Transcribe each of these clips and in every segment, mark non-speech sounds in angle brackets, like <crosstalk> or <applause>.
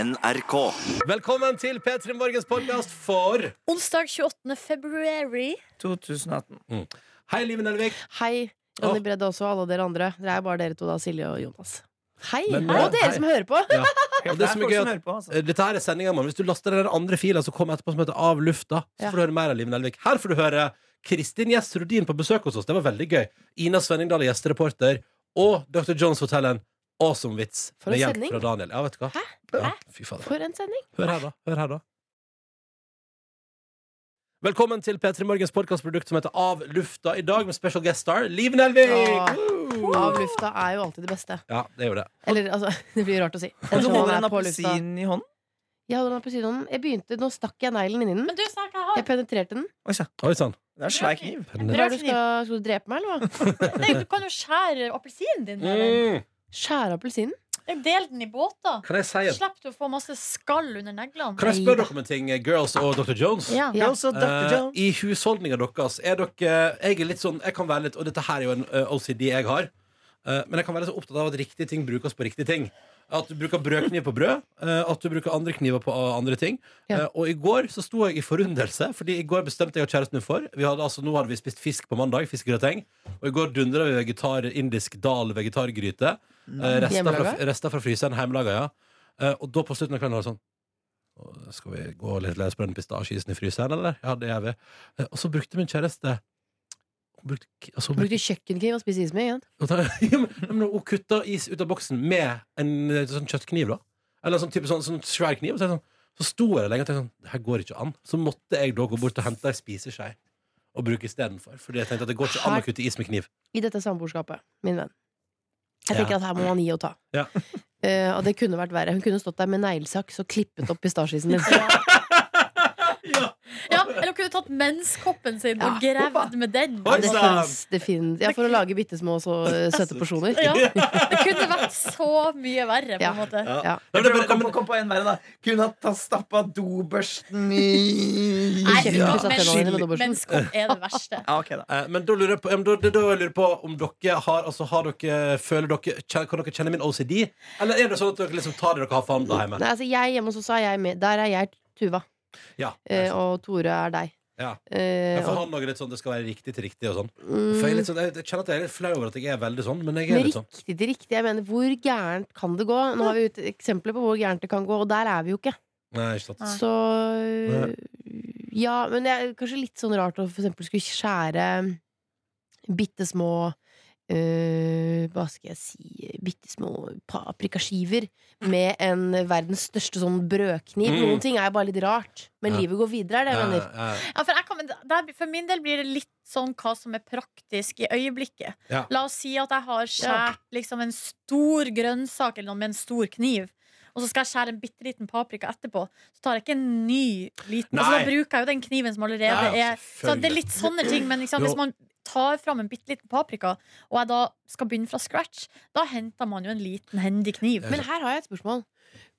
NRK. Velkommen til P3 Morgens podkast for Onsdag 28. february. 2018. Hei, Liven Elvik. Hei, Ronny Bredde også, og alle dere andre. Dere er bare dere to, da, Silje og Jonas. Hei! Men nå- og dere hei. som hører på! Ja. Helt Og det som er folk gøy som at- hører på, altså. Eh, Dette her er sendinga, mann. Hvis du laster den andre fila som kommer etterpå, som heter Av lufta, så får Ja. du høre mer av Liven Elvik. Her får du høre Kristin Gjess Rudin på besøk hos oss. Det var veldig gøy. Ina Svenningdal er gjestereporter. Og Dr. Jones forteller en awesome vits For med en hjelp sending. fra Daniel. Ja, vet du hva? Hæ? Ja, fy faen. For en sending. Hør her, da. Hør her, da. Velkommen til P3 Morgens podkastprodukt som heter Av lufta i dag, med special guest star Liven Elvik. Ja. Av lufta er jo alltid det beste. Ja, det er jo det. Eller altså, <laughs> det blir rart å si. Og du Når man holder er en på lufta. appelsin i hånden? Jeg holder en appelsin i hånden. Jeg begynte, nå stakk jeg neglen inn i den. Men du snakka Jeg penetrerte den. Oi sann. Det er en svær kniv. Hva er det du skal, skal du drepe meg, eller hva? Nei, du kan jo skjære appelsinen din. med Mm. Skjære appelsinen? den. Del den i båter. Kan jeg si en Slipper du å få masse skall under neglene. Kan jeg spørre dere om en ting, eh, girls og Dr. Jones? Ja. Ja. Ja, også Dr. Eh, Jones. I husholdninga deres er dere Jeg er litt sånn, jeg kan være litt Og dette her er jo en eh, OCD jeg har. eh, men jeg kan være så opptatt av at riktige ting brukes på riktige ting. At du bruker brødkniv på brød, eh, at du bruker andre kniver på eh, andre ting. Ja. Eh, og i går så sto jeg i forundelse, Fordi i går bestemte jeg og kjæresten min for vi hadde, altså, Nå hadde vi spist fisk på mandag, fiskegrateng. Og i går dundra vi vegetar, indisk dal vegetargryte. eh, Uh, rester, fra, Hjemmelaga? rester fra fryseren, hjemmelaga, ja. Eh, og da på slutten av kvelden var det sånn «Å, Skal vi gå litt løs på den pistasjeisen i fryseren, eller? Ja, det gjør vi. Eh, og så brukte min kjæreste Hun brukte, k- altså, hun brukte Brukte kjøkkenkniv og spise is med. Ikke sant? <laughs> ja, men, ja, men Hun kutta is ut av boksen med en eh, sånn kjøttkniv, da. Eller en sånn, type, sånn, sånn svær kniv. Og så, er det sånn, så sto jeg der lenge og tenkte sånn Det her går ikke an. Så måtte jeg da gå bort og hente ei spiseskje og bruke istedenfor. Fordi jeg tenkte at det går ikke an å kutte is med kniv. I dette samboerskapet, min venn. Jeg Ja. tenker at her må man gi og ta. Ja. <laughs> Eh, og det kunne vært verre. Hun kunne stått der med neglesaks og klippet opp pistasjisen din. <laughs> Ja, eller kunne tatt menskoppen sin og gravd med den. Oi, Det sann! finnes, det finnes. Ja, for å lage bitte små så eh, <laughs> søte porsjoner. Ja, det kunne vært så mye verre, på Ja. en måte. Ja. Nei, Jeg men prøver det- å komme, komme på en verre, da. Kunne ha stappa dobørsten i Nei, Kjeften Ja. pusset men- tennene dine med dobbeltsen. Menskopp er det verste. Ja, ok da. Eh, Men da lurer jeg på, ja, men da, det er da jeg lurer på om dere har, altså, har dere, føler dere, kjen- kan dere kjenne min OCD? Eller er det sånn at dere liksom tar det dere har for hånda hjemme? Nei, altså, jeg hjemme hos oss er jeg med. Der er jeg Tuva, Ja, jeg eh, og Tore er deg. Ja. Eh, jeg får og, han noe litt sånn, det skal være riktig til riktig og sånn. For jeg, er mm, litt sånn jeg, jeg kjenner at jeg er litt flau over at jeg er veldig sånn, men jeg men er litt sånn. riktig til riktig. Jeg mener, hvor gærent kan det gå? Nå har vi ut eksempler på hvor gærent det kan gå, og der er vi jo ikke. Nei, ikke sant. Nei. Så Ja, men det er kanskje litt sånn rart å for eksempel skulle skjære bitte små eh, hva skal jeg si Bitte små paprikaskiver med en verdens største sånn brødkniv. Mm. Noen ting er bare litt rart, men Ja. livet går videre, er det jeg mener. Ja, ja. Ja, for, jeg kan, der, for min del blir det litt sånn hva som er praktisk i øyeblikket. Ja. La oss si at jeg har skjært liksom en stor grønnsak eller noe med en stor kniv. Og så skal jeg skjære en bitte liten paprika etterpå. Så tar jeg ikke en ny liten Nei. altså, Da bruker jeg jo den kniven som allerede Ja, ja, er så Det er litt sånne ting, men liksom, Jo. hvis man tar fram en bitte liten paprika, og jeg da skal begynne fra scratch, da henter man jo en liten, hendig kniv. Men her har jeg et spørsmål.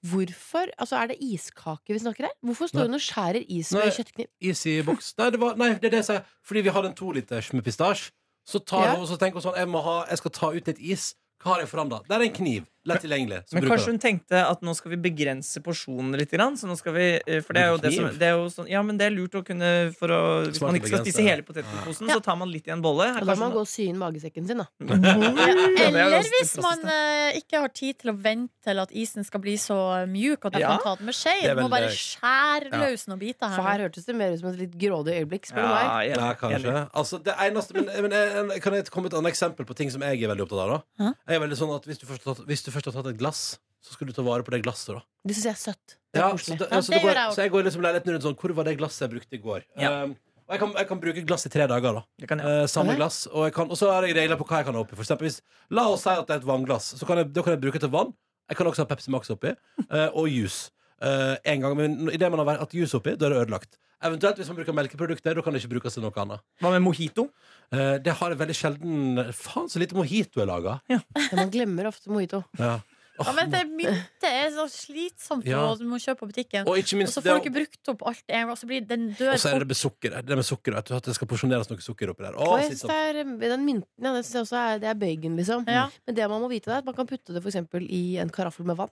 Hvorfor, altså Er det iskake vi snakker her? Hvorfor Nei. står hun og skjærer is med Nei. kjøttkniv? Is i boks. Nei, det, var, nei, det er det jeg sier. Fordi vi har en to-liters med pistasj. Så, tar Ja. hun, så tenker hun sånn, jeg, må ha, jeg skal ta ut litt is. Hva har jeg foran da? Det er en kniv. Lett tilgjengelig. Så Men bruker kanskje hun tenkte at nå skal vi begrense porsjonene litt. Grann, så nå skal vi, eh, for det er jo det som Kniv. det er jo sånn, Ja, men det er lurt å kunne for å, Hvis Smart man å ikke skal begrense. spise hele potetgullposen, så tar man litt i en bolle. Her Og da kanskje må man man- gå og sy inn magesekken sin, da. <laughs> Ja, det er jo Eller ganske hvis man drastisk, da. eh, ikke har tid til å vente til at isen skal bli så mjuk at man Ja. kan ta den med skje. Det er Du må veldig- bare skjære Ja. løs noen biter For her. her hørtes det mer ut som et litt grådig øyeblikk. Spør du meg. Ja, jeg- Ja, enig. kanskje. Altså, det eneste, men, men jeg, kan jeg komme med et annet eksempel på ting som jeg er veldig opptatt av? da? Ja. Jeg er veldig sånn at hvis du, først har tatt, hvis du først har tatt et glass, så skal du ta vare på det glasset. da Det syns jeg er søtt. Det er ja, så, koselig. det, Ja, så, det det går, gjør jeg også. så jeg går liksom leiligheten rundt sånn Hvor var det glasset jeg brukte i går? Ja. Um, og jeg kan, jeg kan bruke glass i tre dager. da Det kan jeg. Eh, Samme Ok. glass. Og, jeg kan, og så har jeg regler på hva jeg kan ha oppi. For eksempel, hvis, la oss si at det er et vannglass. Så kan jeg, da kan jeg bruke det til vann. Jeg kan også ha Pepsi Max oppi. eh, og juice. Eh, en gang, men i det man har hatt juice oppi, da er det ødelagt. Eventuelt hvis man bruker melkeprodukter, da kan det ikke brukes til noe annet. Hva med mojito? Eh, det har jeg veldig sjelden Faen, så lite mojito jeg lager. Men man glemmer ofte mojito. Ja. Åh, Ja, men det myntet er så slitsomt Ja. å- du må kjøpe på butikken. og ikke Og minst så det, får du ikke brukt opp alt en gang, og så blir den dør og så er det fort. med sukkeret. Det med sukker, vet du, at det skal porsjoneres noe sukker oppi der. Og Å, jeg synes sitt det sånn. er, den mynten ja, det synes jeg også er, det er bøygen, liksom. Ja. Men det man må vite, det er at man kan putte det for eksempel i en karaffel med vann.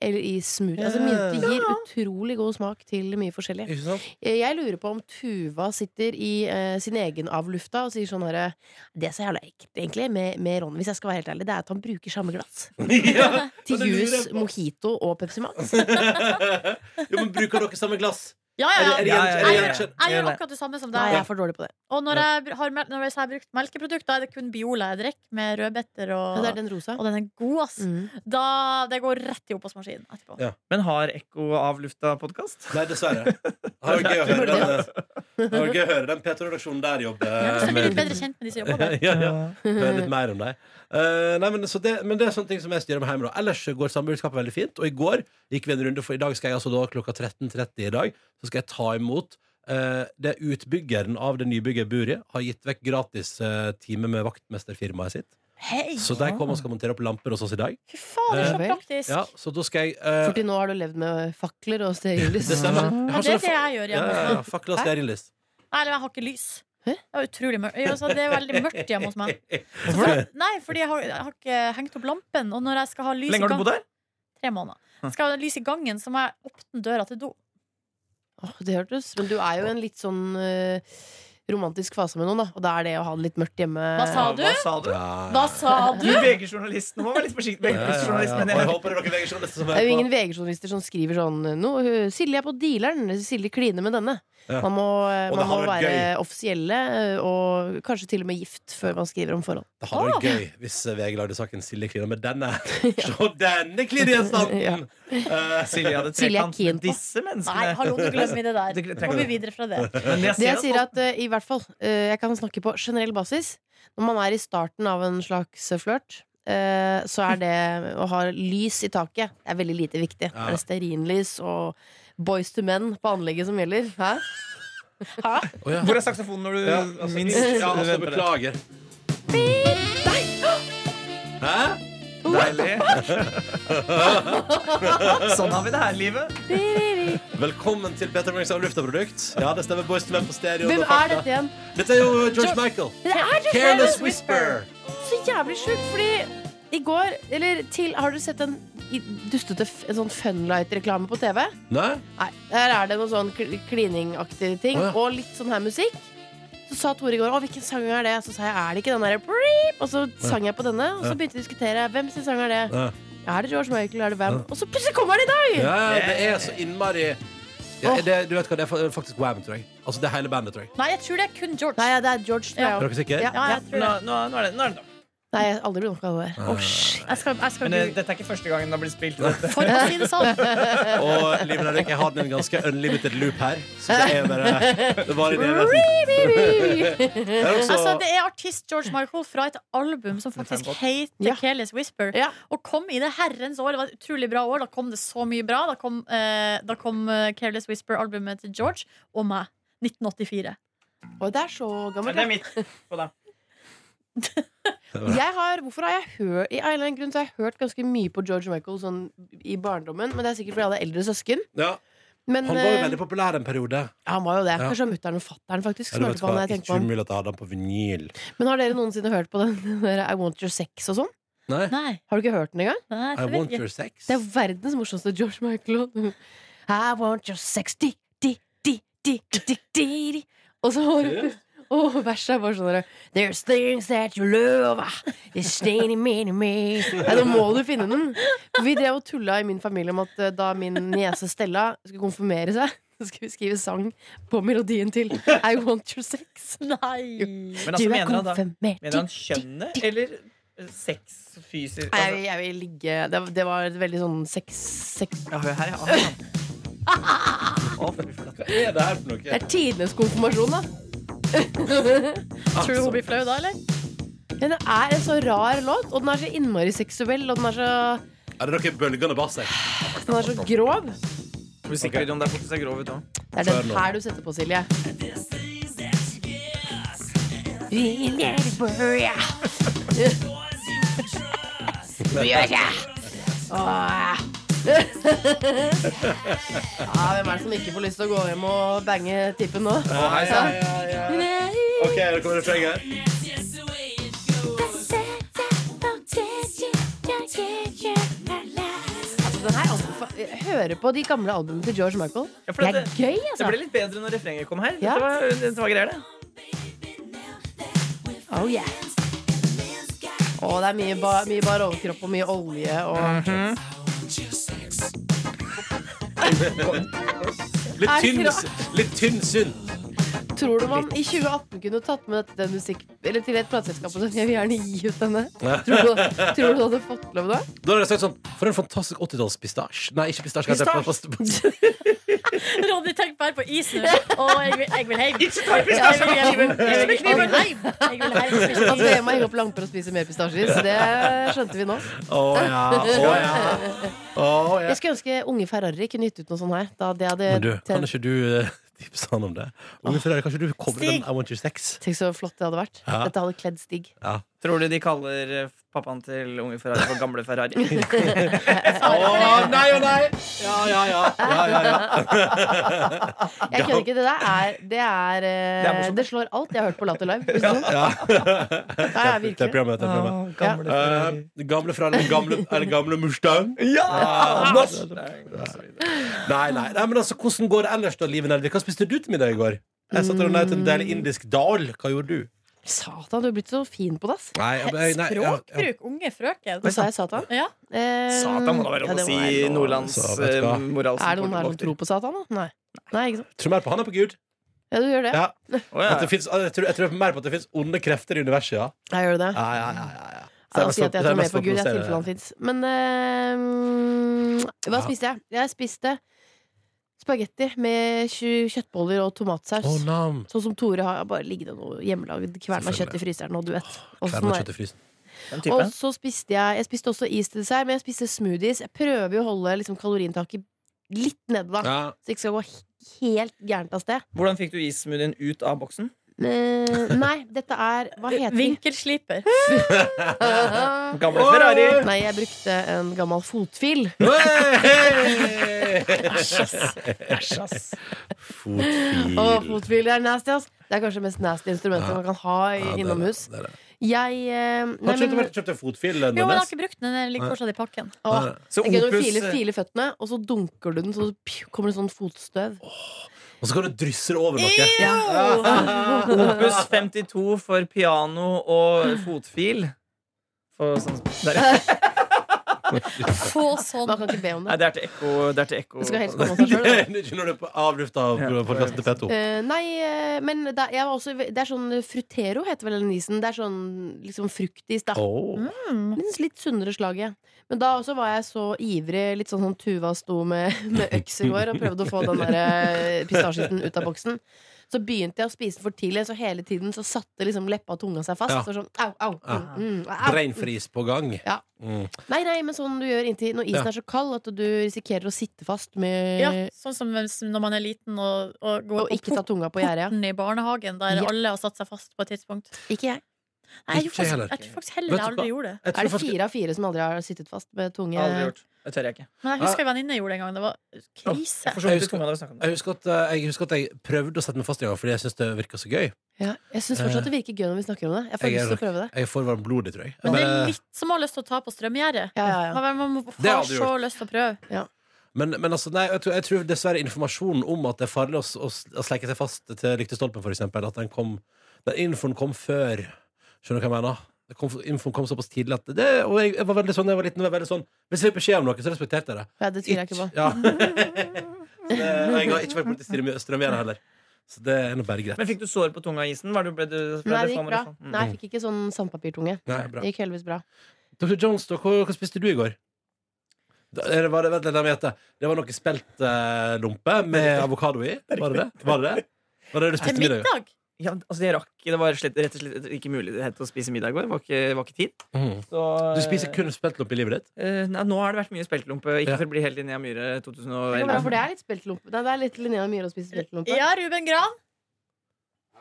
Eller i smoothie. Altså, Ja. mynte gir utrolig god smak til mye forskjellig. Ikke sant? <laughs> Jeg lurer på om Tuva sitter i eh, sin egen avlufta og sier sånn herre Det er så jævla ekkelt, egentlig, med, med Ron, hvis jeg skal være helt ærlig, det er at han bruker samme glass. ja. <laughs> Til det lurer jeg juice, på. mojito og <laughs> Pepsi Max. jo, men Bruker dere samme glass? Er Ja, ja, det- er det ja. ja, gjenkjent- er det Jeg gjør, gjenkjent? jeg gjør akkurat det samme som Nei, deg. jeg er for dårlig på det. Og når jeg har, mel- når jeg har brukt melkeprodukt, da er det kun Biola jeg drikker, med rødbeter og Men det er den rosa. Og den er god, ass. Mm. Da, det går rett i oppvaskmaskinen etterpå. Ja. Men har Ekko avlufta podkast? Nei, dessverre. Det var gøy å høre den, eh, det hadde vært gøy å høre den P2-redaksjonen der Jeg har lyst til å bli litt jobber. bedre kjent med de som jobber der. <laughs> ja, ja. Høre litt mer om deg. Eh, nei, men, så det, men det er sånne ting som jeg styrer med hjemme. Da. Ellers går samboerskapet veldig fint. Og i går gikk vi en runde, for i dag skal jeg altså da klokka 13.30 i dag Så skal jeg ta imot eh, det utbyggeren av det nybygget jeg bor i, har gitt vekk gratis eh, time med vaktmesterfirmaet sitt. Hei! Så de kommer og skal montere opp lamper hos oss i dag. Fy fader, Eh, så praktisk! Ja, så da skal jeg eh, <laughs> For til nå har du levd med fakler <laughs> og stearinlys. Det stemmer. Jeg Ja, har det sånne er det jeg gjør fa- ja, hjemme. ja, hos ja, meg. fakla stearinlys. Nei, eller jeg har ikke lys. Hæ? Det er utrolig mørkt. Ja, Altså, det er veldig mørkt hjemme <laughs> hos <laughs> meg. Så for, Hvorfor? nei, fordi jeg har, jeg har ikke hengt opp lampen. Og når jeg skal ha lys Lenge i har du gangen bodd Hm. her? Tre måneder. Skal jeg ha lys i gangen, så må jeg åpne døra til do. Åh, det hørtes Men du er jo i en litt sånn eh, romantisk fase med noen, da. Og da er det å ha det litt mørkt hjemme Hva sa du? Hva sa du? Hva sa <laughs> Du VG-journalisten må være litt forsiktig. Ja, ja, ja, ja. VG-journalisten Og jeg håper det er dere VG-journalister som Det er hører jo på. ingen VG-journalister som skriver sånn Nå, eh, Silje er på dealeren, Silje kliner med denne. Ja. Man må, eh, Og det man må hadde vært være offisielle eh, og kanskje til og med gift før man skriver om forhold. Det hadde vært gøy hvis VG lagde saken Silje kliner med denne. <laughs> Se denne klinestanden! Eh, Silje hadde Silje er trekant keen med på. disse Nei, menneskene. hallo, nå glemmer vi det Det der. trenger Går du. vi videre fra det. Men jeg Det ser jeg at sier at eh, i hvert fall, eh, jeg kan snakke på generell basis Når man er i starten av en slags flørt eh, så er det å ha lys i taket Det er veldig lite viktig Ja. Er det stearinlys og boys to men på anlegget som gjelder Hæ? å ja. Hvor er saksofonen når du Ja, altså, minst ja, venter altså, det? beklager. Hæ? <laughs> Deilig. sånn har vi det her i livet. Velkommen til Peter Morgens avluftaprodukt. Ja, det stemmer Boys to Men på stereo. Hvem og fakta. er dette igjen? Dette er jo uh, George Michael. Det er George Careless Michael. Whisper. Så jævlig sjukt, fordi i går, eller til, har dere sett en i- dustete f- en sånn Funlight-reklame på TV? Nei? Nei, der er det noe sånn kl- kliningaktige ting, Å, ja. og litt sånn her musikk. Så sa Tore i går 'Å, hvilken sang er det?' Så sa jeg 'Er det ikke den derre Breep?' Og så sang jeg på denne, og så Ja. begynte vi å diskutere hvem sin sang er det. Nei. Er det George Michael, er det Wam? Og så plutselig kommer den i dag! Ja, ja, det er så innmari ja, Åh. det, Du vet hva, det er fa- faktisk Wham, tror jeg. Altså, det er hele bandet, tror jeg. Nei, jeg tror det er kun George. Nei, ja, det er George. tror Ja. Er jeg også. dere sikre? Ja. Ja, jeg tror Nå, det. nå, nå er det nå er det nok. Nei, jeg har aldri blitt nok av det Ah. der. Å, shit. Jeg skal, jeg skal Men eh, google. dette er ikke første gangen den har blitt spilt. Dette. For å si det <laughs> sånn. Og Liv Nelvik, jeg har den i en ganske unlimited loop her. Så det er <laughs> bare Det varer i det hele tiden. Det er også Altså, det er artist George Michael fra et album som faktisk heter Ja. Careless Whisper. Ja. Og kom i det herrens år. Det var et utrolig bra år. Da kom det så mye bra. Da kom, eh, da kom eh, Careless Whisper-albumet til George og meg. 1984. Og det er så Men gammelt. det er ja. mitt. På deg. Jeg har, hvorfor har jeg hørt I en eller annen grunn så har jeg hørt ganske mye på George Michael sånn, i barndommen. Men det er sikkert fordi jeg hadde eldre søsken. ja, Men, Han var jo eh, veldig populær en periode. ja, han var jo det. Ja. Kanskje mutter'n og fatter'n faktisk. Eller som hørte vet du hva, på han, når jeg tenker ikke på han. umulig at jeg hadde den på vinyl. Men har dere noensinne hørt på den, <laughs> den der I Want Your Sex og sånn? Nei? Nei, Har du ikke hørt den engang? nei I jeg vet Want ikke. Your Sex. Det er verdens morsomste George Michael. <laughs> I want your sex di, di, di, di, di, di, di. Og så har <laughs> du og verset er bare sånn der, There's things that you love It's many, many, many Nei, Nå må du finne den Vi drev og tulla i min familie om at eh, da min niese Stella skulle konfirmere seg <laughs> Så skulle vi skrive sang på melodien til I want your sex Nei. Men Du altså, er mener han da konfirmert Mener han kjønnet eller eh, sex fysisk? Nei, jeg, Altså, vil- jeg vil ligge det, det var et veldig sånn sex, sex ja, hør her, ja. <laughs> Å, fy flate. Hva er det her for Det noe? er tidenes konfirmasjon da <laughs> Tror du hun blir flau da, eller? Men det er en så rar låt, og den er så innmari seksuell, og den er så, Er det noe bølgende bass her? den er så grov. Musikkvideoen der faktisk er grov ut òg. Det er Før den nå. her du setter på, Silje. Åh. Ja, hvem er det som ikke får lyst til å gå hjem og bange tippen nå? Altså, Hei, hei, hei, hei. OK, er det kommer refreng her. That's it, that's it, yeah, yeah, yeah, yeah, la, la. den her anbefa- jeg hører på de gamle albumene til George Michael. Ja, for Det det, er gøy, det altså. ble litt bedre når refrenget kom her. Ja. Det var, det var greier, det. Oh, yeah. Å, det er mye, ba, mye bar overkropp og mye olje og Litt Er det tynn, ikke litt tynn synd. Tror du man i 2018 kunne tatt med dette til musikk Eller til et plateselskap og sagt jeg vil gjerne gi ut denne? Tror du, tror du du hadde fått lov da? Da hadde jeg sagt sånn For en fantastisk 80-tallspistasje. Nei, ikke pistasje. kanskje jeg- Ronny, tenk bare på is <laughs> nå. Å, jeg vil, jeg vil hjem. Ikke ta <laughs> Ja, pistasjen! Jeg vil hjem. Jeg vil kniven. hjem. <laughs> Jeg vil hjem. Jeg vil At vi hjem. må henge opp lamper og spise mer pistasjer. Så det skjønte vi nå. Å ja. Å ja. <laughs> Å, ja. Jeg skulle ønske Unge Ferrari kunne gitt ut noe sånt her. Da det hadde Men du, kan ikke du eh, <laughs> tipse han om det? Unge Ferrari, kanskje du kobler den I Stig. Want Your Sex? Tenk så flott det hadde vært. Ja. Dette hadde kledd Stig. Tror du de kaller eh, pappaen til unge Ferrari for gamle <laughs> Ferrari? Å nei og nei! Ja, ja, ja. ja, ja, ja. Jeg kødder ikke. Det der er Det, er, eh, Det er morsomt. det slår alt jeg har hørt på Latter Live. Visste du det? <laughs> Ja, ja, Det er virkelig. programmet. Det er programmet. gamle Eh, gamle Ferrari, gamle, eller gamle Mustang. Ja! norsk. Nei, nei, nei, men altså, hvordan går det ellers da, Live Nelvik? Hva spiste du til middag i går? Jeg satt og la ut en del indisk dal. Hva gjorde du? Satan, du er blitt så fin på det, ass. Nei, jeg- jeg- nei, ja, ja. Språkbruk, unge frøken. Hva sa jeg, Satan? Ja. Eh, Satan må da være ja, lov å det si må være lov. Nordlands Så, vet du hva? eh, moralske Er det noen her som portvokter. tror på Satan, da? Nei. Nei, ikke sant? Tror mer på han enn på Gud. Ja, du gjør det. Ja. Å, ja. At det finnes, jeg, tror, jeg tror mer på at det fins onde krefter i universet, ja. Jeg gjør det. ja, ja, ja, ja, ja. Så er Jeg må det si mest at for- det er jeg tror mer mest på for å Gud. Jeg provosere tilfeller han deg. fins. Men eh, hva Ja. spiste jeg? Jeg spiste spagetti med tju- kjøttboller og tomatsaus. Å, nam. Sånn som Tore har. Jeg har bare ligget og noe hjemmelagd kverna Selvfølgelig. kjøtt i fryseren. Og du vet. Og Kvelden sånn har er- kjøtt i frysen. Den type. og så spiste jeg Jeg spiste også is til dessert, men jeg spiste smoothies. Jeg prøver jo å holde liksom, kaloriinntaket litt nede, da. Ja. Så det ikke skal gå he- helt gærent av sted. Hvordan fikk du issmoothien ut av boksen? Men, nei, dette er <laughs> Hva heter den? Vinkelsliper. Gamle Ferrari! Nei, jeg brukte en gammel fotfil. Fotfil. Å, fotfil det er nasty, ass. Det er kanskje det mest nasty instrumentet Ja. man kan ha i- Ja, det er innomhus. det, det er det. Jeg eh, nei, Har ikke du men, vært og kjøpt en fotfil? Jo, men jeg har Nordnes? ikke brukt den. Den ligger fortsatt i pakken. å, Så jeg kunne Opus eh. file, file føttene, og så dunker du den, så pju, kommer det sånn fotstøv. Og så kan du drysse det over noe. Jo! Opus 52 for piano og fotfil. For sånn, der, ja. Få sånn. Man kan ikke be om nei, det. det er til ekko. Det er til ekko. Det skal <laughs> helst komme av seg Det selv, det. er Ikke når du er på avlufta av Ja. podkasten til P2. Eh, nei, eh, men det, jeg var også, det er sånn frutero, heter vel den isen. Det er sånn liksom fruktis, da. Åh. Litt, litt sunnere slaget. Men da også var jeg så ivrig, litt sånn som Tuva sto med, med øks i går og prøvde å få den der eh, pistasjisen ut av boksen. Så begynte jeg å spise for tidlig, så hele tiden så satte liksom leppa og tunga seg fast. Ja. Så sånn, au, au, mm, mm, au. Breinfris på gang. Ja. Mm. Nei, nei, men sånn du gjør inntil når isen Ja. er så kald at du risikerer å sitte fast med Ja, sånn som når man er liten og, og går Eh, Og ikke på ta tunga på gjerdet. ja. porten i barnehagen, der Ja. alle har satt seg fast på et tidspunkt. Ikke jeg. Nei, Ikke jeg, gjorde faktisk, heller. jeg tror faktisk Vet heller du jeg aldri hva? gjorde det. Jeg tror Er det faktisk- fire av fire som aldri har sittet fast med tunge Aldri gjort. Det tør jeg ikke. Men jeg husker en venninne gjorde det en gang. Det var krise. Jeg får så vondt Jeg i tunga når vi snakker om det. Jeg husker, at, eh, jeg husker at jeg prøvde å sette meg fast i gang fordi jeg syntes det virka så gøy. Ja, jeg syns fortsatt det virker gøy når vi snakker om det. Jeg får Jeg er lyst til å prøve det. Jeg er for varmblodig, tror jeg. Men det er Men, litt som å ha lyst til å ta på strømgjerdet. Ja, ja, ja. Man- Man må- Det har hadde du så lyst til å prøve. men, men altså, nei, jeg tror, jeg tror dessverre informasjonen om at det er farlig å, s- å, s- å sleike seg fast til lyktestolpen, for eksempel, at den kom Den infoen kom før. Skjønner du hva jeg mener? Det kom, infoen kom såpass tidlig at det, Og jeg, jeg var veldig sånn da jeg var liten. var jeg Veldig sånn, hvis jeg fikk beskjed om noe, så respekterte jeg det. Ja, det tviler jeg ikke på. Ja. <laughs> Det- jeg har ikke vært borti strøm- strømgjerde heller. Så det er nå bare greit. Men fikk du sår på tunga i isen? Var du, ble du, ble Nei, det du gikk faen bra. meg Nei, jeg fikk ikke sånn sandpapirtunge. Nei, bra. Det gikk heldigvis bra. Dr. Jones, da, hva, hva spiste du i går? Da- eller var det, vent, litt, la meg gjette. det var noe spelt eh, lompe med avokado i. Var det det? Var det det, var det, det du Til spiste middag? middag? Ja, altså jeg rakk, Det var slett, rett og slett ikke mulighet til å spise middag i går. Det var ikke, var ikke tid. Mm. Så, Du spiser kun spelt lompe i livet ditt? eh, nei, Nå har det vært mye speltlompe. Ikke Ja. for å bli helt Linnea Myhre Det går bra, 2011. for det er litt speltlompe. Nei, det er litt Linnea Myhre å spise speltlompe. Ja, Ruben Gran.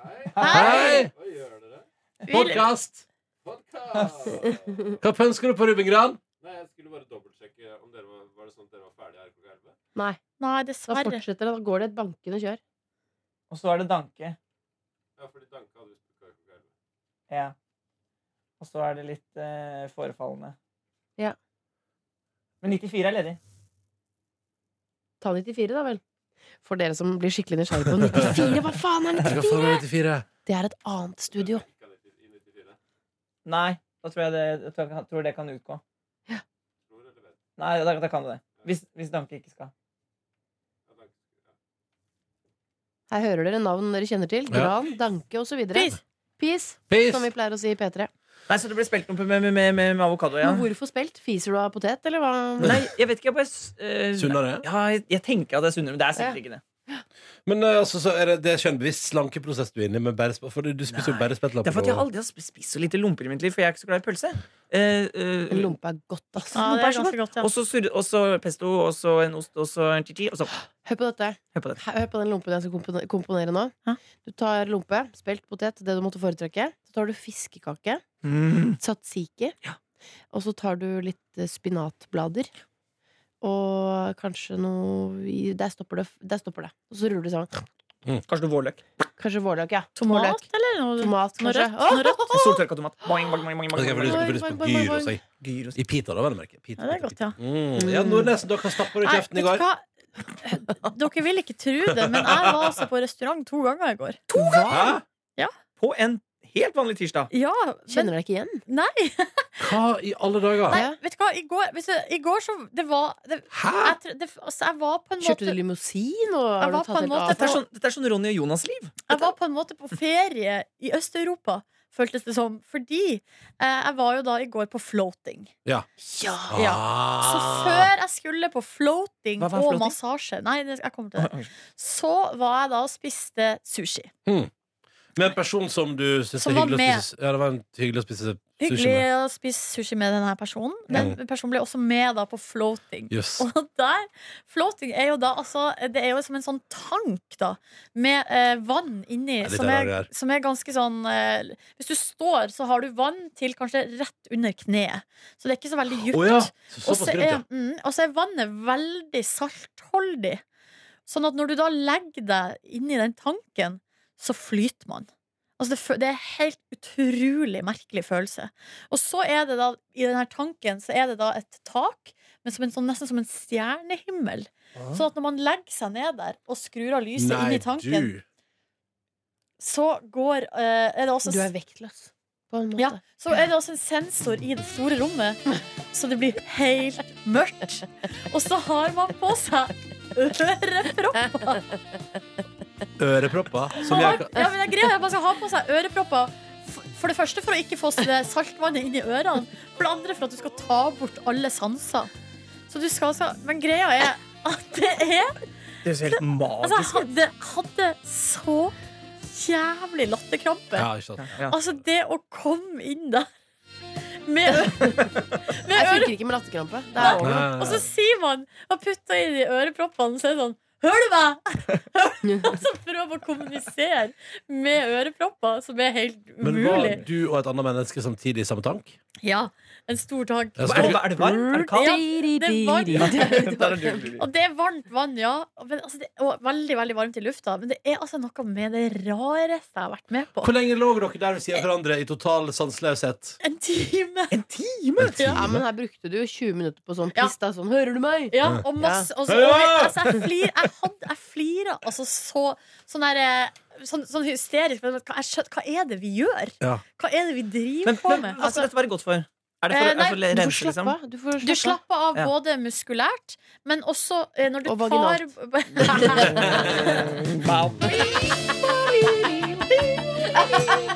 Hei! Hva gjør dere? Vi- Podkast! Podcast! Mm. Hva pønsker du på Ruben Gran? Nei, jeg skulle bare dobbeltsjekke om dere var, var det sånn at dere var ferdige her klokka <laughs> 11. Nei, Nei, da dessverre. fortsetter det. Da går det et bankende kjør. Og så er det danke. Ja, fordi Danke hadde lyst til klokka 11. Ja. Og så er det litt eh, forefallende. Ja. Men 94 er ledig. Ta 94, da vel. For dere som blir skikkelig nysgjerrig på 94. Hva faen er Hva 94? faen er 94? Det er et annet studio. Nei, da tror jeg det, jeg tror, jeg tror det kan utgå. Tror eller vet? Nei, da, da kan det det. Hvis, hvis Danke ikke skal. Ja, takk. Her hører dere navn dere kjenner til. Ja. Gran, Danke osv. Peace. Peace, Peace! som vi pleier å si i P3. Nei, Så det blir speltnumpe med, med, med, med avokado, ja. Men hvorfor spilt? Fiser du av potet, eller hva? Nei, jeg vet ikke. Jeg bare s- eh, Sunnere? Ja, jeg, jeg tenker at det er sunnere, men det er sikkert ikke det. Men eh, altså, så er det, det er ikke en bevisst slankeprosess du er inne i, men bare, sp- for du, du spiser jo Nei. bare spettlapper. Det er for at jeg og- aldri har sp- spist så lite lomper i mitt liv, for jeg er ikke så glad i pølse. Eh, eh, En lompe er godt, ass. Ja, det er ganske godt, ja. og så surre- og så pesto, og så en ost, og så en chichi, og så Hør på dette. Hør på dette. Hør på den lompen jeg skal kompone- komponere nå. Ja. Du tar lompe, spelt potet, det du måtte foretrekke. Så tar du fiskekake, Mm. tzatziki, Ja. og så tar du litt eh, spinatblader. Og kanskje noe i- Der stopper det. Der stopper det. Og så ruller du sammen. Kanskje noe vårløk. Kanskje vårløk, ja. Tomat, Vårløk. eller? Noe, Tomat, noe kanskje. rødt? Åh! Noe rødt? Soltørka tomat. Boing, boing, boing, boing, Ok, for boing, du boing. skulle få lyst på Boing, boing, boing, gyros, jeg. Gyros. I pita, da, vel å merke. Pita, Ja, det er pita, godt, ja. pita. Mm. Ja, Nordnesen, dere stappa du i Nei, kjeften i vet går. du hva? Dere vil ikke tro det, men jeg var altså på restaurant to ganger i går. Hæ? På en helt vanlig tirsdag. Ja, men Kjenner du deg ikke igjen? nei, Hva i alle dager? nei! Vet du hva, i går, hvis jeg, i går så Det var det, Hæ? jeg, tr- det, altså, jeg var på en Kjørte du måte limousin? Og har Jeg du var tatt på helt en måte av? Dette er sånn, dette er sånn Ronny og Jonas' liv. Jeg var på en måte på ferie i Øst-Europa, føltes det som. Fordi eh, jeg var jo da i går på floating. Ja. Ja. Så Ah. før jeg skulle på floating Hva var og floating? massasje Nei, det, jeg kommer til det. Så var jeg da og spiste sushi. Med en person som du syns Som er var hyggelig å med. spise Ja, det var en hyggelig å spise sushi Hyggelig med. Mm. å spise sushi med denne personen. Den personen ble også med da på floating. Jøss. <laughs> Og der, Floating er jo da altså, Det er jo som en sånn tank da med eh, vann inni, Ja, det som, der er er, det her. som er ganske sånn eh, Hvis du står, så har du vann til kanskje rett under kneet. Så det er ikke så veldig Å djupt. ja! Så- og, Såpass så grunt, ja. er, mm, og så er vannet veldig saltholdig. Sånn at når du da legger deg inni den tanken, så flyter man. Altså det, fø- det er en helt utrolig merkelig følelse. Og så er det da, i denne tanken, så er det da et tak, men som en, sånn, nesten som en stjernehimmel. Sånn at når man legger seg ned der og skrur av lyset inn i tanken, du. så går eh, er det også, Du er vektløs, på en måte. ja, så er det også en sensor i det store rommet, så det blir helt mørkt. Og så har man på seg ørepropper. Ørepropper. Som Man jeg har, ja, men det er greia, man skal ha på seg ørepropper. f- For det første for å ikke få s- saltvannet inn i ørene. For det andre for at du skal ta bort alle sanser. Så du skal altså Men greia er at det er Det ser helt Altså, jeg magisk ut. hadde, hadde så jævlig latterkrampe. Ja, ikke sant. Ja. Altså, det å komme inn der <laughs> med, ø- Jeg med øre... funker ikke med latterkrampe. Det er over. Og så sier man og putter inn i øreproppene, så er det sånn Hører du meg?! Og så prøver å kommunisere med ørepropper, som er helt Men var umulig. du og et annet menneske samtidig i samme tank? Ja, en stor tank. Ja, så- Er det, er det varmt? Er det kaldt? Ja, det er <laughs> Der er varmt. du. <laughs> Og det er varmt vann, ja. Men, altså, det, og veldig veldig varmt i lufta. Men det er altså noe med det rareste jeg har vært med på. Hvor lenge lå dere der ved siden av hverandre i total sanseløshet? En time! En time? Ja, men her brukte du jo 20 minutter på sånn Ja. piss, da. Sånn 'hører du meg?' Ja, og masse og så- Ja. og vi- altså, Jeg flir- jeg hadde- jeg flirer altså så sånn der, eh, Sånn, sånn hysterisk. Men hva, jeg skjønner, hva er det vi gjør? Ja. Hva er det vi driver Men, på men med? altså, Altså, dette var det godt for. Er det Eh, for, nei, er for Du får rense, slappe liksom? av. Du får du slappe av. slapper av Ja. både muskulært, men også eh, når du Og tar vaginalt. <laughs> liksom? Wow.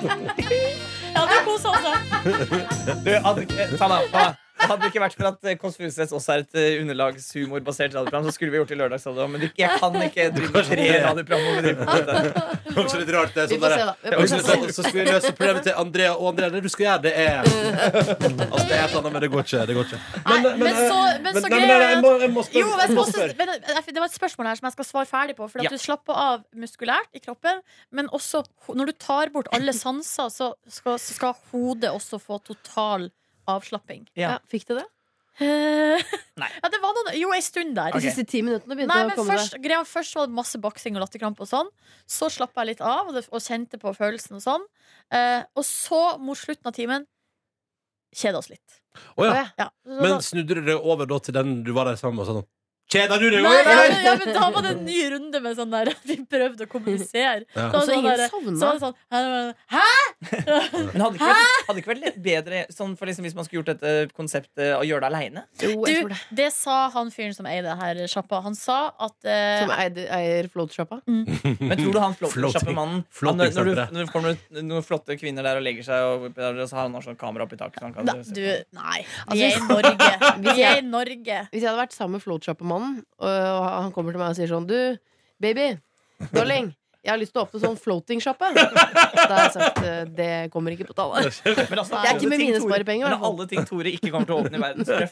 Ja, det koser altså. Du, hadde, ikke- ta meg, ta meg. Hadde det ikke vært for at eh, Kåss Furuseths også er et eh, underlagshumorbasert radioprogram, så skulle vi gjort det i lørdagsradio òg, men det- jeg kan ikke drive med tre radioprogram hvor vi driver på dette. Det var også litt rart. Det, er Vi sånn der, får se, da. Vi Ja, får og Så se. så skal vi løse problemet til Andrea og Andrea. Det du skal gjøre, det er Altså, det er et eller annet, men det går ikke. Det går ikke. Nei, men så- men så nei, gøy er nei, jeg må- jeg må spørre- Jo, jeg men, jeg må skal også, spørre. men jeg- Det var et spørsmål her som jeg skal svare ferdig på. For at Ja. Du slapper av muskulært i kroppen, men også ho- når du tar bort alle sanser, så skal, så skal hodet også få total avslapping. Ja. Ja, fikk du det? Eh, Nei. <laughs> Ja, det var noen, jo, ei stund der. De Ok. siste ti minuttene begynte Nei, å men komme først, greia, først var det masse baksing og latterkrampe og sånn. Så slappa jeg litt av og, det, og kjente på følelsen og sånn. Eh, og så, mot slutten av timen, kjeda oss litt. Å ja. Å, ja. Ja. Så Men da- snudde du det over da til den du var der sammen med? og sa Sånn. Kjeder du deg Nei, òg, ja, eller? men, ja, men da var det en ny runde med sånn der Vi prøvde å kommunisere. Ja. Da var Så det sånn ingen der- savnet? så var det sånn Hæ?! Men hadde ikke vært, hadde ikke vært litt bedre sånn for liksom, hvis man skulle gjort dette konseptet og gjøre det aleine? Jo, jeg Du, tror det. det sa han fyren som eide her sjappa. Han sa at Som eh, eier, eier Floatsjappa. Men tror du han Floating- floating-sjappemannen floating Når, når, senteret. du- når det kommer noen flotte kvinner der og legger seg, og, og så har han sånn kamera oppi taket så han kan da, se Du, på. nei. Vi er i Altså, <laughs> Norge. Vi er jeg- i Norge. Hvis jeg hadde vært sammen med Floatsjappa-mannen, og han kommer til meg og sier sånn Du, baby, darling, jeg har lyst til å åpne sånn floating-sjappe. Da har jeg sagt eh, det kommer ikke på tale. Men altså, Det er ikke alle med ting mine Tore- sparepenger, i hvert Men fall. alle ting Tore ikke kommer til å åpne i verden, så det er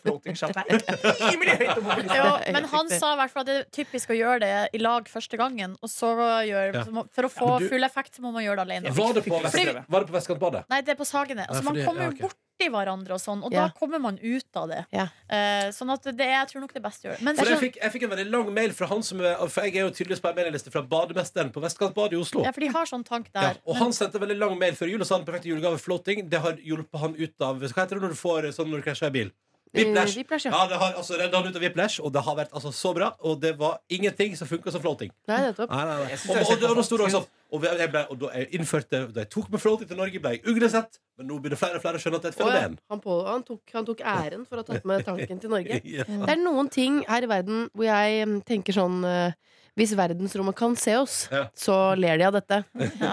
<laughs> floating-sjapp her. Rimelig høyt oppe på listen. Det Jo, er men helt han riktig. sa i hvert fall at det er typisk å gjøre det i lag første gangen. Og så gjør, Ja. så må- for å få Ja, men du- full effekt må man gjøre det alene. Var det på, Fordi- Vest- var det på Vestkantbadet? Nei, det er på Sagene. Nei, Altså, man fordi- kommer ja, jo ok. borti hverandre og sånn, og Ja. da kommer man ut av det. Ja. Eh, sånn at det, jeg tror nok det er best å gjøre. Men For jeg sånn, fikk, jeg fikk en veldig lang mail fra han som er, For jeg er jo tydeligvis på en maileliste fra bademesteren på Vestkantbadet i Oslo. ja, for de har sånn tank Ja, der. og Men- han sendte en veldig lang mail før jul og sa han perfekte julegave floating. Det har hjulpet han ut av Hva heter det når du får sånn når du krasjer i bil? Whiplash. Eh, whiplash, ja. ja, det har altså redda han ut av whiplash, og det har vært altså så bra. Og det var ingenting som funka som floating. Nei, nettopp. Nei, nei, nei. Jeg synes Og, det og, er og, da sto det også fantastisk. sånn og jeg ble, og da jeg innførte Da jeg tok med floating til Norge, ble jeg uglesett. Men nå begynner flere og flere å skjønne at det er et Og ja, fenomen. han, på, han, tok, han tok æren for å ha tatt med tanken til Norge. Ja. Det er noen ting her i verden hvor jeg mm, tenker sånn eh, Hvis verdensrommet kan se oss, Ja. så ler de av dette.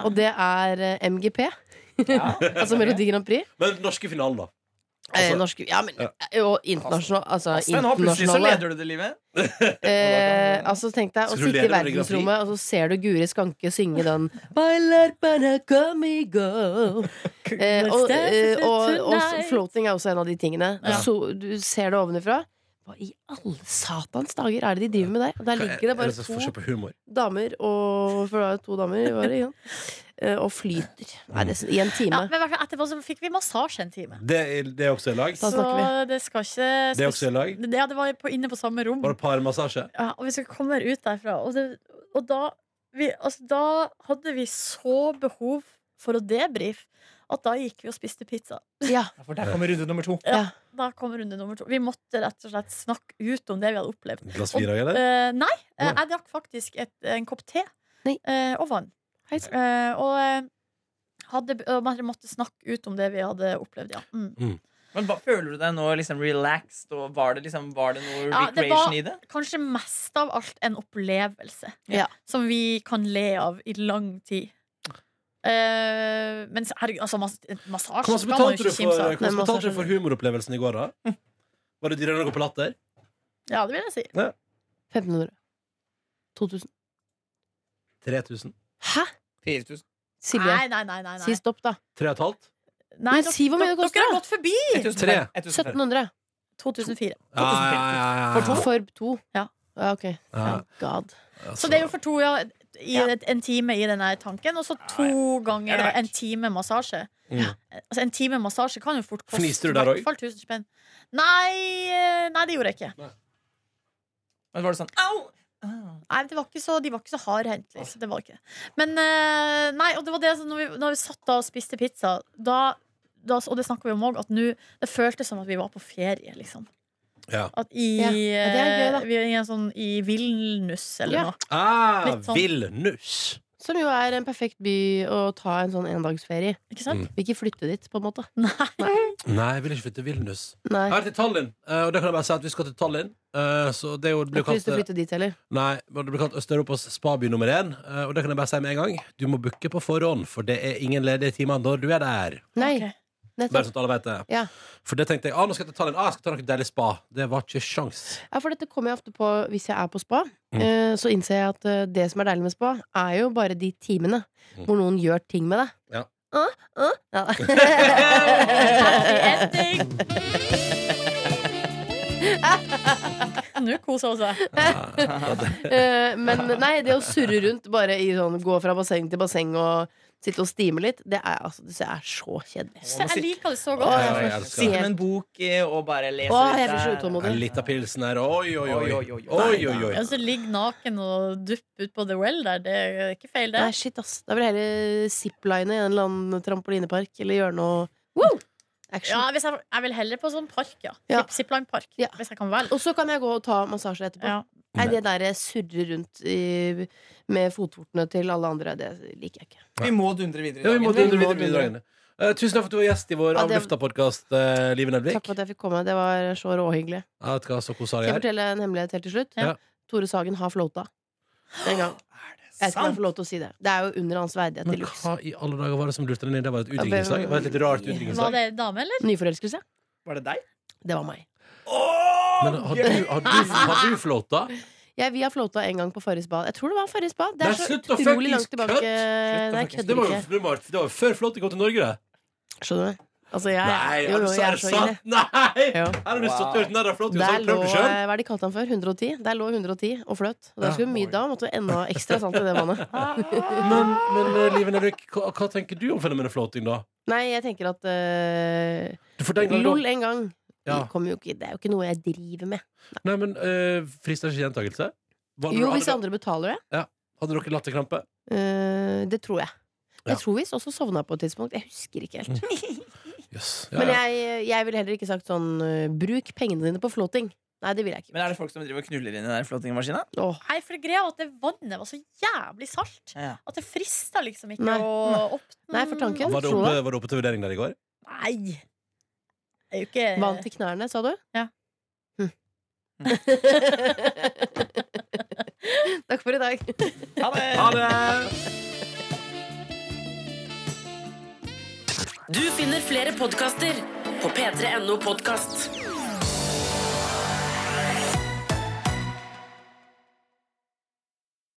Og det er eh, MGP, Ja. altså Melodi Grand Prix. Men den norske finalen, da. Eh, Altså- norsk, ja, men, Ja. eh, Og internasjonal, altså, Men nå plutselig så internasjonale. leder du det livet. Eh, altså Tenk deg å Skulle du sitte i lede Melodi Grand Prix? verdensrommet, og så ser du Guri Skanke synge den Bailar para conmigo. Eh, og, eh, og, og s- floating er også en av de tingene. Ja. Så, du ser det ovenifra. Hva i alle satans dager er det de driver med der? Og der ligger det bare så forskjell to på humor. damer og For det er jo to damer i hver, ikke sant? Eh, og flyter. Nei, det, I en Ja, time. men i hvert fall etterpå så fikk vi massasje en time. Det, er- det er også i lag. Da snakker Så det skal ikke Det er også i lag. Ja, det var på, inne på samme rom. Bare parmassasje. Ja, og vi skal komme ut derfra. Og, det, og da, vi, altså, da hadde vi så behov for å debrife at da gikk vi og spiste pizza. Ja. For der kommer runde nummer to. Da kom runde nummer to. Vi måtte rett og slett snakke ut om det vi hadde opplevd. Glass vin òg, eller? Eh, nei, eh, Nei. jeg drakk faktisk et, en kopp te Nei. eh, og vann. Hei sann. Eh, og eh, hadde, og man måtte snakke ut om det vi hadde opplevd, ja. Mm. Men hva føler du deg nå liksom relaxed, og var det, liksom, var det noe Ja, det recreation var- i det? Kanskje mest av alt en opplevelse Ja. som vi kan le av i lang tid. Eh, men så- herregud, altså, mas massasje Hvor mye kan betalte man jo du eh, ikke kimse for, av. hvor mye Nei, betalte du massasje. for humoropplevelsen i går, da? Var det dyrere enn å gå på Latter? Ja, det vil jeg si. 1500. 2000. 3000? Hæ? 4000. Silje, Nei, nei, nei. nei, nei. si stopp, da. 3500? nei Men dere- si hvor mye det dere- koster, Dere har da. gått forbi 1005. 1005. 1700. 2004. Ja, ja, ja, ja, ja. For to. Ah. Ja. Ja, ok. Ja, God. Altså, Så det er jo for to ja, i, et- en time i den her tanken, og så to ganger Jeg vet. en time massasje. Mm. Altså, en time massasje kan jo fort koste Fniste du der i også? hvert fall 1000 spenn. Nei, eh, nei, det gjorde jeg ikke. Men var det sånn au! Ah. Nei, det var ikke så, De var ikke så hardhendt. Liksom. Det var ikke. Men eh, nei, og det var det som- når vi, når vi satt da og spiste pizza, da, da, og det snakka vi om òg, at nå Det føltes som at vi var på ferie, liksom. Ja. At i, Ja, ja, det er gøy, da. eh, vi er i en sånn i Vilnius eller Ja. noe. Ah, Litt sånn. Vilnus. Som jo er en perfekt by å ta en sånn endagsferie i. Ikke sant? Mm. Vil ikke flytte dit, på en måte. Nei. Nei, jeg vil ikke flytte til Vilnus. Nei. Jeg har vært i Tallinn, eh, og det kan jeg bare si at vi skal til Tallinn. eh, Så det er jo, det Jeg blir har ikke lyst til å kalt, flytte dit heller. nei, men det blir kalt Øst-Europas spaby nummer én. eh, Og det kan jeg bare si med en gang. Du må booke på forhånd, for det er ingen ledige timer når du er der. Nei, Ok. Bare nettopp. sånn at alle vet det. Ja. For det tenkte jeg, ah, nå skal jeg til Tallinn. Ah, jeg skal ta noe deilig spa. Det var ikke sjans. Ja, for dette kommer jeg ofte på hvis jeg er på spa. Mm. Eh, Så innser jeg at eh, det som er deilig med spa, er jo bare de timene Mm. hvor noen gjør ting med deg. Ja. Ah, ah, ja. <laughs> Happy ending! Nå koser hun seg. Eh, Men nei, det å surre rundt, bare i sånn gå fra basseng til basseng og sitte og stime litt, det er, altså, det er så kjedelig. Så Jeg liker det så Å, godt. jeg får jeg elsker Sitte helt- med en bok eh, og bare lese Å, litt jeg blir så der. utålmodig. En liten pilsen her. Oi, oi, oi. oi, oi, oi, Ja, så ligge naken og duppe ut på The Well der, det er ikke feil, det. Nei, shit, ass. Da vil jeg heller zipline i en eller annen trampolinepark eller gjøre noe Wow! action. Ja, hvis jeg, jeg vil heller på sånn park, ja. Ja. Zipp- Zippline-park. Ja. Hvis jeg kan velge. Og så kan jeg gå og ta massasjer etterpå. Ja. Nei, det der surre rundt i, med fotvortene til alle andre, det liker jeg ikke. Vi må dundre videre i Ja, vi må dagen. dundre videre med dragene. Eh, tusen takk for at du var gjest i vår Ja, det- Avlufta-podkast, Live Nelvik. Takk for at jeg fikk komme. Det var så råhyggelig. Jeg vet ikke hva så koselig Skal jeg jeg er. fortelle en hemmelighet helt til slutt? Ja. Tore Sagen har flåta. En gang. Jeg vet ikke om jeg får lov til å si det. Det er jo under hans verdighet til Men luxe. hva i alle dager var det som lurte den inn? Det var et utdrikningslag? Det var et litt rart Var utdrikningslag. det en dame, eller? Nyforelskelse? Var det deg? Det var meg. Men har du, har du, har du flåta? Jeg, vi har flåta en gang på Farris bad. Jeg tror det var Farris bad. Det Nei, er så slutt å utrolig fuckings langt tilbake. kødd! Slutt å Nei, jeg fuckings- Det kødder var jo ikke. det var- det var før flåta kom til Norge, det. Skjønner du? Altså, jeg, Nei, jo, er det jo, jeg er er det så inne. sant? <laughs> Nei! Jo. Her har du stått og hørt narr av flåta og Der sagt lå, eh, prøv det hva sjøl. er det de kalte han for? 110? Der lå 110 og fløt. Og der Ja. skulle mye da, måtte det enda ekstra salt i det <laughs> vannet. Men, men eh, Liven Henrik, hva, hva tenker du om fenomenet flåting, da? Nei, jeg tenker at eh, Du får den gangen LOL en gang. Ja. Det, kommer jo ikke, det er jo ikke noe jeg driver med. Nei, men eh, frister ikke gjentakelse? Var det- Jo, hadde, hvis andre betaler det. hadde dere latterkrampe? Eh, det tror jeg. Ja. Mm. Jeg tror visst også sovna på et tidspunkt. Jeg husker ikke helt. Yes. Men jeg, jeg ville heller ikke sagt sånn eh, Bruk pengene dine på flåting. Nei, det vil jeg ikke. Men er det folk som driver og knuller inn i den der flåtingmaskina? Åh, Nei, for det greia var at det vannet var så jævlig salt Ja. at det frista liksom ikke Nei. å opp... Nei, for tanken. var, det tror oppe, det. var det oppe til vurdering der i går? Nei! Det er jo ikke Vann til knærne, sa du? Ja. Hm. Mm. <laughs> Takk for i dag. Ha det! Ha det! Du finner flere podkaster på p3.no podkast.